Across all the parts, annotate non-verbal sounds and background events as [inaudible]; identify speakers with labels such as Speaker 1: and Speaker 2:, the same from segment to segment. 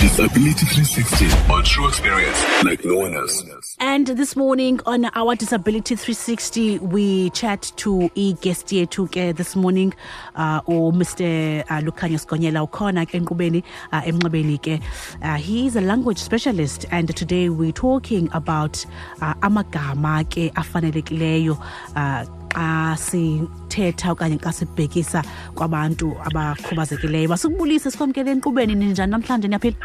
Speaker 1: Disability 360 on true experience like no one else.
Speaker 2: And this morning on our Disability 360, we chat to i-guest yethu ke this morning uh, or Mr. Uh, Lukhanya Skonyela ukhona ke enkubeni uh, emnxebeni ke. Uh, he is a language specialist and today we're talking about uh, amagama ke afanelekileyo uh, xa sithetha okanye xa sibhekisa kwabantu abakhubazekileyo basikubulise sikwamkele enkqubeni ninjani namhlanje niyaphila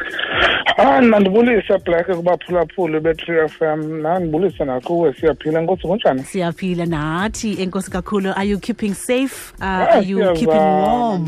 Speaker 3: hayi mna ndibulise black kubaphulaphuli be-tree f m nandibulise nakuwe siyaphila enkosi kunjani
Speaker 2: siyaphila nathi enkosi kakhulu are you keeping safe uh,
Speaker 3: Hayi,
Speaker 2: are you keeping warm
Speaker 3: siyazama,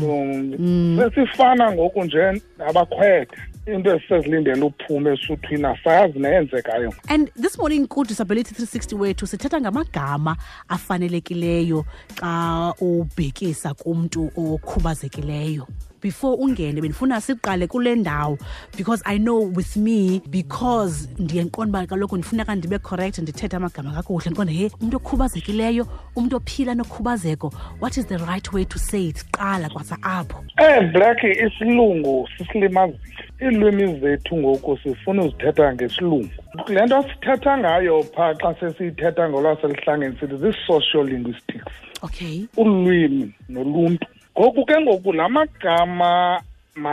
Speaker 2: Mm.
Speaker 3: ntombi. sesifana ngoku nje nabakhwetha into esisezilindele uphume esuthwini asayazi neyenzekayo
Speaker 2: and this morning ku-disability 360 wethu sithetha ngamagama afanelekileyo xa ubhekisa kumntu okhubazekileyo before ungene bendifuna siqale kule ndawo because i know with me because ndiye ndiqonda uba kaloku ndifuneka ndibe correct ndithethe amagama kakuhle ndiqonda he umntu okhubazekileyo umntu ophila nokhubazeko what is the right way to say it qala kwasa apho
Speaker 3: Eh black isilungu sisilimazile. Iilwimi zethu ngoku sifuna uzithetha ngesilungu. Le nto sithetha ngayo phaa xa sesiyithetha ngolwaselihlangeni sithi zii-social linguistics.
Speaker 2: okay
Speaker 3: Ulwimi noluntu. Ngoku ke ngoku la magama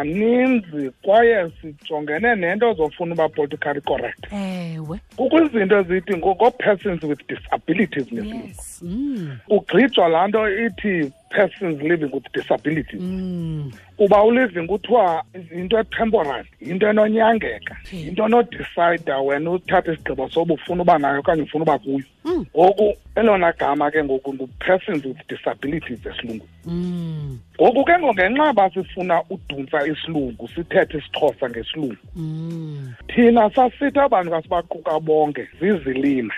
Speaker 3: maninzi kwaye sijongene nento zofuna uba politically correct.
Speaker 2: ewe
Speaker 3: Kukho izinto ezithi ngoo-persons with disabilities ngesilungu.
Speaker 2: yes mm.
Speaker 3: Ugqijwa laa nto ithi persons living with disabilities.
Speaker 2: Mm.
Speaker 3: kuba uliving kuthiwa yinto etemporary yinto enonyangeka
Speaker 2: Okay.
Speaker 3: yinto enodicayida wena uthathe isigqibo soba ufuna uba nayo okanye ufuna uba kuyo
Speaker 2: Mm.
Speaker 3: ngoku elona gama ke ngoku ngu-persons with disabilities esilungu
Speaker 2: Mm.
Speaker 3: ngoku ke ngongenxa ba sifuna uduntsa isilungu sithethe isixhosa ngesilungu
Speaker 2: Mm.
Speaker 3: thina sasithi abantu kasibaquka bonke zizilima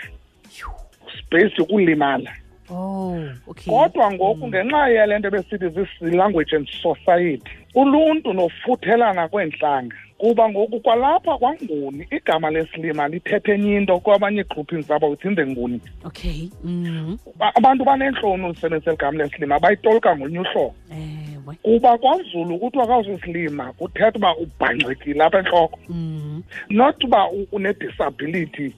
Speaker 2: Phew.
Speaker 3: space yokulimala
Speaker 2: Oh, okay.
Speaker 3: kodwa ngoku ngenxa yale nto besithi zii-language and society uluntu nofuthelana kweentlanga kuba ngoku kwalapha kwanguni igama lesilima lithethe enye into kwabanye ii-groupings apha within the nguni
Speaker 2: Okay. Mm.
Speaker 3: Ba- abantu baneentloni ulisebenzisa eli gama lesilima bayitolika ngolunye uhlobo
Speaker 2: Ewe.
Speaker 3: kuba kwaZulu kuthiwa kawusisilima kuthetha uba ubhangxekile apha entloko
Speaker 2: Mm.
Speaker 3: not uba u- une-disability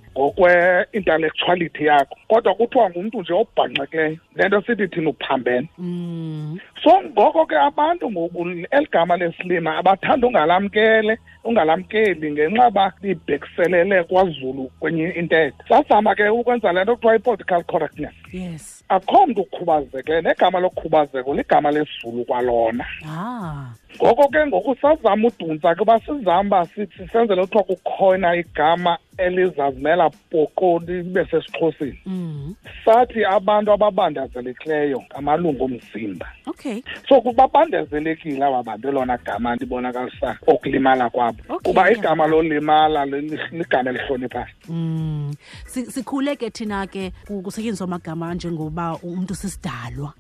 Speaker 3: ngokwe-intellectuality yakho kodwa kuthiwa ngumntu nje obhanxekileyo le nto sithi thina uphambene
Speaker 2: Mm.
Speaker 3: so ngoko ke abantu ngoku eli gama lesilima abathanda ungalamkele ungalamkeli ngenxa ba libhekiselele kwaZulu kwenye intetho sazama ke ukwenza le nto kuthiwa i-political correctness
Speaker 2: Yes.
Speaker 3: akho mntu ukhubazeke negama lokhubazeko ligama lesizulu kwalona
Speaker 2: Ah.
Speaker 3: ngoko ke ngoku sazama uduntsa ke uba sizama uba sithi senzele kuthiwa kukhona igama elizazimela poqo libe sesiXhoseni
Speaker 2: Mm.
Speaker 3: sathi abantu ababandazelekileyo ngamalungu omzimba
Speaker 2: Okay.
Speaker 3: so kubabandezelekile aba bantu elona gama ndibonakalisa okulimala kwabo
Speaker 2: Okay,
Speaker 3: kuba
Speaker 2: yeah.
Speaker 3: igama lolimala li- li- ligama elihloniphayo
Speaker 2: Mm. Si- Sikhule ke thina ke ku- kusetyenziswa amagama njengoba umuntu sisidalwa.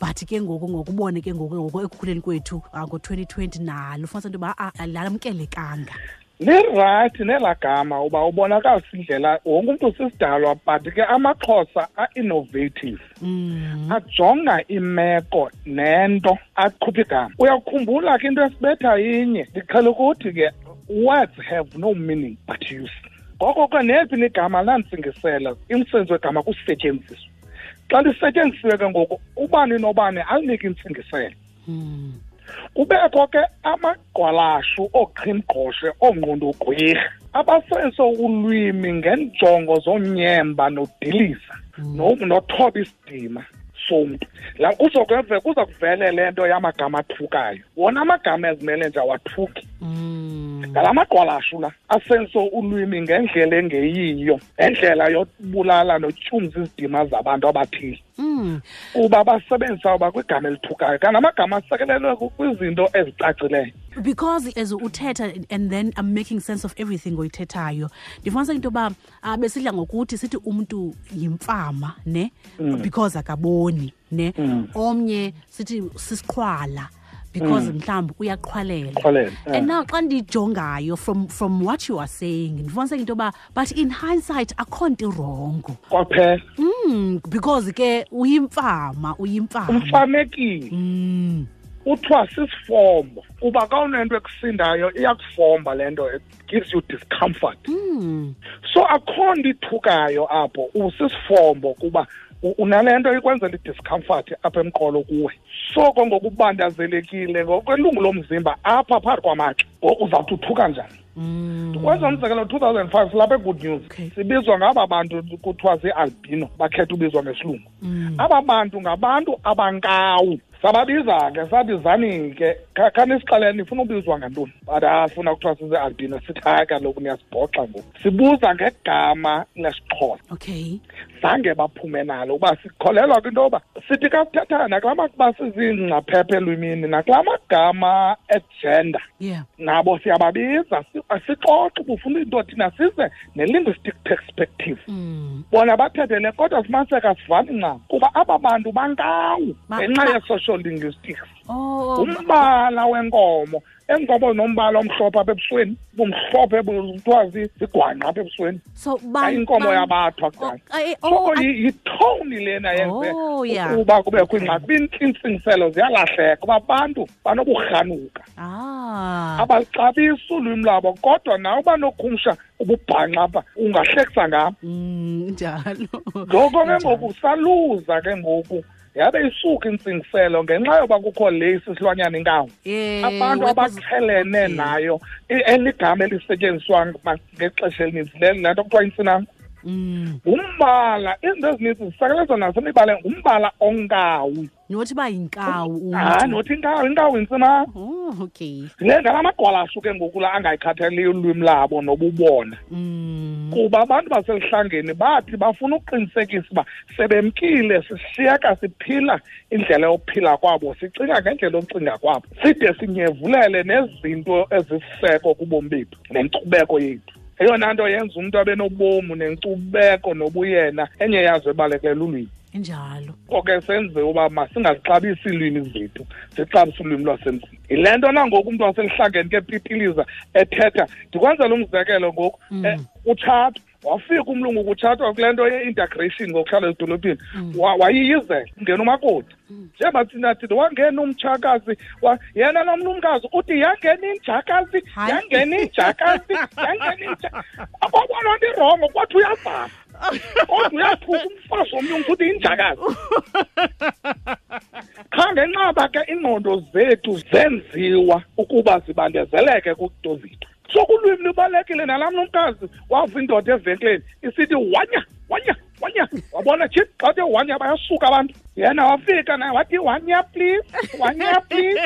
Speaker 2: But ke ngoku ngokubone ke ngoku ngoku ekukhuleni kwethu ah, ngo-2020 nalo ufumanise into yoba ah, alamkelekanga.
Speaker 3: lirayithi nelaa gama uba ubonakalisa indlela wonke umntu sisidalwa but ke amaxhosa a-innovative
Speaker 2: Mm.
Speaker 3: ajonga imeko nento aqhupha igama uyakhumbula ke into esibetha yinye ndiqhele ukuthi ke words have no meaning but use ngoko ke nephi na igama landitsingisela umsebenzi wegama kusetyenziswa xa lisetyenzisiwe ke ngoku ubani nobani alinike intsingiselo
Speaker 2: Mm.
Speaker 3: kubekho ke amaqwalashu ooqhimqoshe oongqondogqwirha abasebenzise ulwimi ngeenjongo zonyemba nodiliza no- nothoba isidima somntu la kuzo kweve kuza kuvele le nto yamagama athukayo wona amagama ezimele nje awathuki
Speaker 2: Mm.
Speaker 3: ngala maqwalashu la asenso ulwimi ngendlela engeyiyo ngendlela yobulala notyumza izidima zabantu abathile
Speaker 2: Mm.
Speaker 3: kuba basebenzisa uba kwigama elithukayo kanamagama asekelelwe ku- kwizinto ezicacileyo
Speaker 2: because as uthetha and then i'm making sense of everything oyithethayo ndifumanise into yoba ah, besidla ngokuthi sithi umntu yimfama ne because akaboni ne omnye sithi sisiqhwala because mhlawumbi uyaqhwalela
Speaker 3: Uxolele, eh.
Speaker 2: and now xa ndiyijongayo from, from what you are saying ndifumaniseke into yoba but in hindsight akho nto irongo
Speaker 3: kwaphela
Speaker 2: mm, because ke uyimfama uyimfama
Speaker 3: umfanekile
Speaker 2: mm,
Speaker 3: uthiwa sisifombo kuba ka unento ekusindayo iyakufomba le nto it gives you discomfort
Speaker 2: Mm.
Speaker 3: so akho nto ithukayo apho usisifombo kuba u- unale nto ikwenzela i-discomfort apha emqolo kuwe so ke ngoku ubandazelekile ngokwelungu lomzimba apha phakathi kwamatha ngoku uzawuthi uthuka njani
Speaker 2: Mm.
Speaker 3: kwenza umzekelo 2005 lapha e-good news
Speaker 2: Okay.
Speaker 3: sibizwa ngaba bantu kuthiwa zii-albino bakhetha ubizwa ngesilungu
Speaker 2: Mm.
Speaker 3: aba bantu ngabantu abankawu sababiza ke sathi zani ke kha- khanisixelele nifuna ubizwa ngantoni but afuna kuthiwa size-albino sithi hayi kaloku niyasibhoxa ngoku sibuza ngegama lesixhosa
Speaker 2: Okay.
Speaker 3: zange baphume nalo uba sikholelwa kwinto yoba sithi kasithethana kulaa makuba sizingcaphephe elwimini nakulaa magama egender
Speaker 2: Yeah.
Speaker 3: nabo siyababiza si- asixoxe bufuna into thina size ne-linguistic perspective
Speaker 2: Mm.
Speaker 3: bona bathethele kodwa fumaniseka sivani ncam kuba aba bantu bankawu
Speaker 2: Ba-
Speaker 3: ngenxa
Speaker 2: ba-
Speaker 3: ye-social linguistics
Speaker 2: Oh.
Speaker 3: umbala wenkomo enkomo nombala omhlophe apha ebusweni bumhlophe bu- kuthiwa zi- zigwanqa apha ebusweni
Speaker 2: So
Speaker 3: hayi
Speaker 2: bani
Speaker 3: inkomo
Speaker 2: bani-
Speaker 3: yabathwa
Speaker 2: Oh,
Speaker 3: kudala
Speaker 2: eh,
Speaker 3: soko
Speaker 2: oh, I-
Speaker 3: yithowuni lena yenze
Speaker 2: Oh, yeah.
Speaker 3: ukuba kubekho ingxaki bintsintsiniselo ziyalahleka kuba abantu banoburhanuka
Speaker 2: Ah.
Speaker 3: abalixabisi ulwimi lwabo kodwa nawe uba nokhumsha ububhanxa apha ungahlekisa ngam
Speaker 2: Mm, njalo. [laughs]
Speaker 3: ngoko ke
Speaker 2: Njalo.
Speaker 3: ngoku saluza ke ngoku yabe isuka intsingiselo ngenxa yoba kukho lesi silwanyana inkawu
Speaker 2: Eh,
Speaker 3: abantu
Speaker 2: what was-
Speaker 3: abaqhelene
Speaker 2: Okay.
Speaker 3: nayo i- eligama elisetyenziswa ma- ngexesha elininzi le le nto kuthiwa intsinam
Speaker 2: Mm.
Speaker 3: ngumbala izinto ezininzi zisakelezwa nasemibala ngumbala onkawu
Speaker 2: Nothi ba yinkawu umntu.
Speaker 3: hayi nothi inkawu inkawu intsinam
Speaker 2: Oh, okay.
Speaker 3: le ngala magqwalashu ke ngoku la angayikhathaliyo ulwimi labo nobubona
Speaker 2: Mm.
Speaker 3: kuba abantu baselihlangeni bathi bafuna ukuqinisekisa uba sebemkile sishiyeka siphila indlela yokuphila kwabo sicinga ngendlela yokucinga kwabo side sinyevulele nezinto ezisiseko kubomi bethu nenkcubeko yethu eyona nto yenza umntu abe nobomu nenkcubeko nobuyena enye yazo ebalekele lulwimi
Speaker 2: Injalo.
Speaker 3: koke senziwe uba masingazixabisi iilwimi zethu sixabise ulwimi lwasemzini yile nto nangoku umntu waselihlangeni ke pipiliza ethetha ndikwenzela umzekelo ngoku
Speaker 2: Mm.
Speaker 3: eh, utshata wafika umlungu kutshatwa kule nto ye-integration ngokuhlala ezidolophini
Speaker 2: Mm.
Speaker 3: Wa- wayiyizela ngena umakoti njengoba thina thina wangena umtshakazi wa- yena nomlumkazi uthi yangena injakazi
Speaker 2: Hayi.
Speaker 3: yangena
Speaker 2: [laughs]
Speaker 3: injakazi yangena inja akobona nto irongo
Speaker 2: [laughs]
Speaker 3: kodwa uyazama kodwa uyathuka umfazi womlungu futhi injakazi kha ngenxaba ke ingqondo zethu zenziwa ukuba zibandezeleke kwiinto zethu sokulwimi lubalulekile nalam nomkazi wava indoda evenkileni isithi wanya wanya wanya wabona nje xa te wanya bayasuka abantu yena wafika naye wathi wanya please wanya please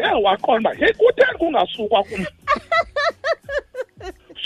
Speaker 3: ye waqonda uba heyi kutheni kungasukwa kum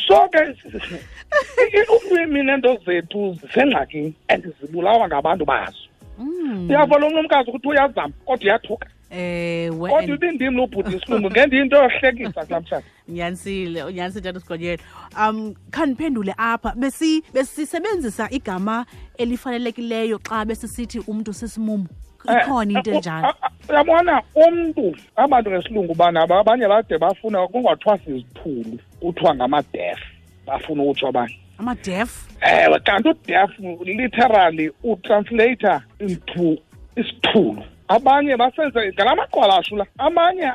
Speaker 3: so ke i- i- ulwimi neento zethu zisengxakini and zibulawa ngabantu bazo
Speaker 2: Mm.
Speaker 3: uyava lo mnumkazi ukuthi uyazama kodwa uyathuka
Speaker 2: Ewe.
Speaker 3: kodwa ibindim lobhuti isilungu ngendiyinto yohlekisa kulaa mtshana
Speaker 2: nyanisile unyanise njalo sigonyela um khandiphendule apha besi besisebenzisa igama elifanelekileyo xa besisithi umntu sisimumu
Speaker 3: Eh，
Speaker 2: ikhona into
Speaker 3: oh，
Speaker 2: enjalo
Speaker 3: ah, uyabona umntu abantu ngesilungu bana ba- abanye bade bafuna kungathiwa sizithulu kuthiwa ngamadef bafuna ukutsho abanye
Speaker 2: amadef
Speaker 3: ewe kanti udef literally utranslator into isithulu abanye basenze ngala maqwalashu la amanye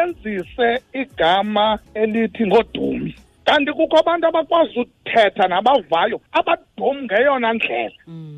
Speaker 3: asebenzise igama elithi ngodumi kanti kukho abantu abakwazi uthetha nabavayo abadom ngeyona ndlela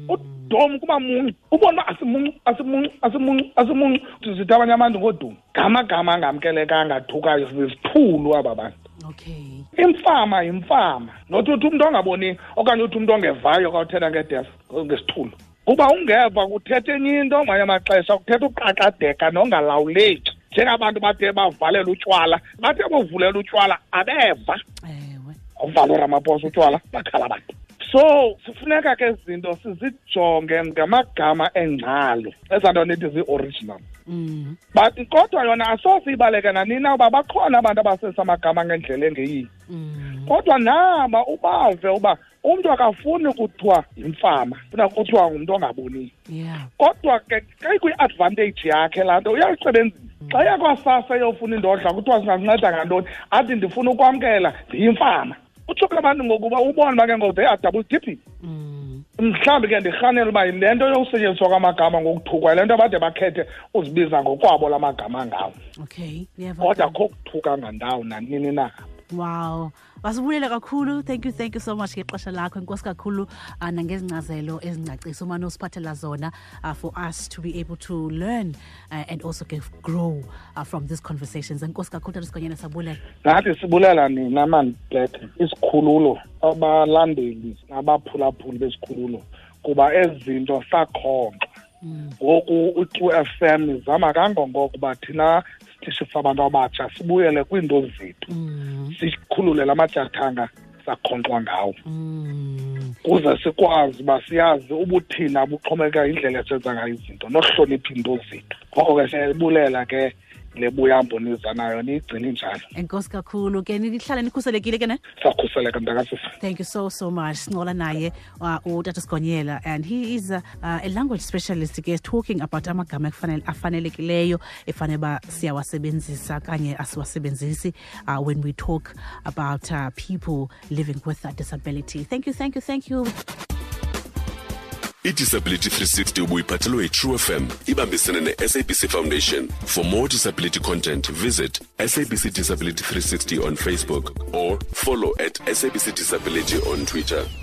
Speaker 3: udom kubamuncu ubona uba asimuncu asimuncu asimuncu asimuncu zithi abanye abantu ngodumi ngamagama angamkelekanga athukayo zizithulu aba bantu
Speaker 2: okay
Speaker 3: imfama yimfama not uthi umntu ongaboni okanye uthi umntu ongevayo ka uthetha ngedef ngesithulo kuba ungeva kuthetha enye into ngamanye amaxesha kuthetha uqaqadeka nongalawuleki njengabantu bathe bavalela utywala bathe bovulela utywala abeva
Speaker 2: ewe
Speaker 3: uvalo ramaphosa utywala bakhala abantu so sifuneka ke zinto sizijonge ngamagama engxalo ezaa nto nithi zii-original
Speaker 2: mm.
Speaker 3: but kodwa yona asoze ibaleke nanina uba bakhona abantu abasebenzisa amagama ngendlela engeyiyo
Speaker 2: Mm.
Speaker 3: kodwa naba ubave uba umntu akafuni kuthiwa yimfama funa kuthiwa ngumntu ongaboniyo
Speaker 2: yeah
Speaker 3: kodwa ke kayikwi-advantage yakhe laa nto uyayisebenzisa xa yakwasasa eyofuna indodla kuthiwa singanceda ngantoni athi ndifuna ukwamkela ndiyimfama utsho ke abantu ngokuba ubone uba ke ngoku they are double dipping
Speaker 2: mm.
Speaker 3: mhlawumbi ke ndirhanele uba le nto yokusetyenziswa kwamagama ngokuthukwa le nto abade bakhethe uzibiza ngokwabo la magama ngawo
Speaker 2: okay
Speaker 3: kodwa
Speaker 2: ndiyavakala
Speaker 3: kho kuthuka ngandawo nanini na
Speaker 2: wow basibulele kakhulu thank you thank you so much ngexesha lakho inkosi kakhulu uh, nangezincazelo ezincaciso umane usiphathela zona uh, for us to be able to learn uh, and also get grow uh, from these conversations enkosi kakhulu tatisigonyana sabulela
Speaker 3: nathi sibulela nina maniblet isikhululo abalandeli nabaphulaphuli besikhululo kuba ezinto sakhonkxa ngoku u-q f m izama kangangoko uba thina sitishisa abantu abatsha sibuyele kwiinto zethu sikhulule la matyathanga sakhonkxwa ngawo
Speaker 2: Mm.
Speaker 3: kuze sikwazi uba siyazi ubuthina buxhomekeka indlela esenza ngayo izinto nohloniphi iinto zethu ngoko ke siyayibulela ke le buyambo niza nayo niyigcine njalo
Speaker 2: enkosi kakhulu ke nihlale nikhuselekile ke ne
Speaker 3: sakhuseleka mntakasisa
Speaker 2: thank you so so much sincola naye uh, utata sigonyela and he is a, uh, a language specialist ke talking about amagama ekufanele- afanelekileyo efanele uba siyawasebenzisa kanye asiwasebenzisi uh, when we talk about uh, people living with a disability thank you thank you thank you
Speaker 1: idisability 360 ubuyiphathelwe yitrue fm ibambisene ne-sabc foundation for more disability content visit sabc disability 360 on facebook or follow at sabc disability on twitter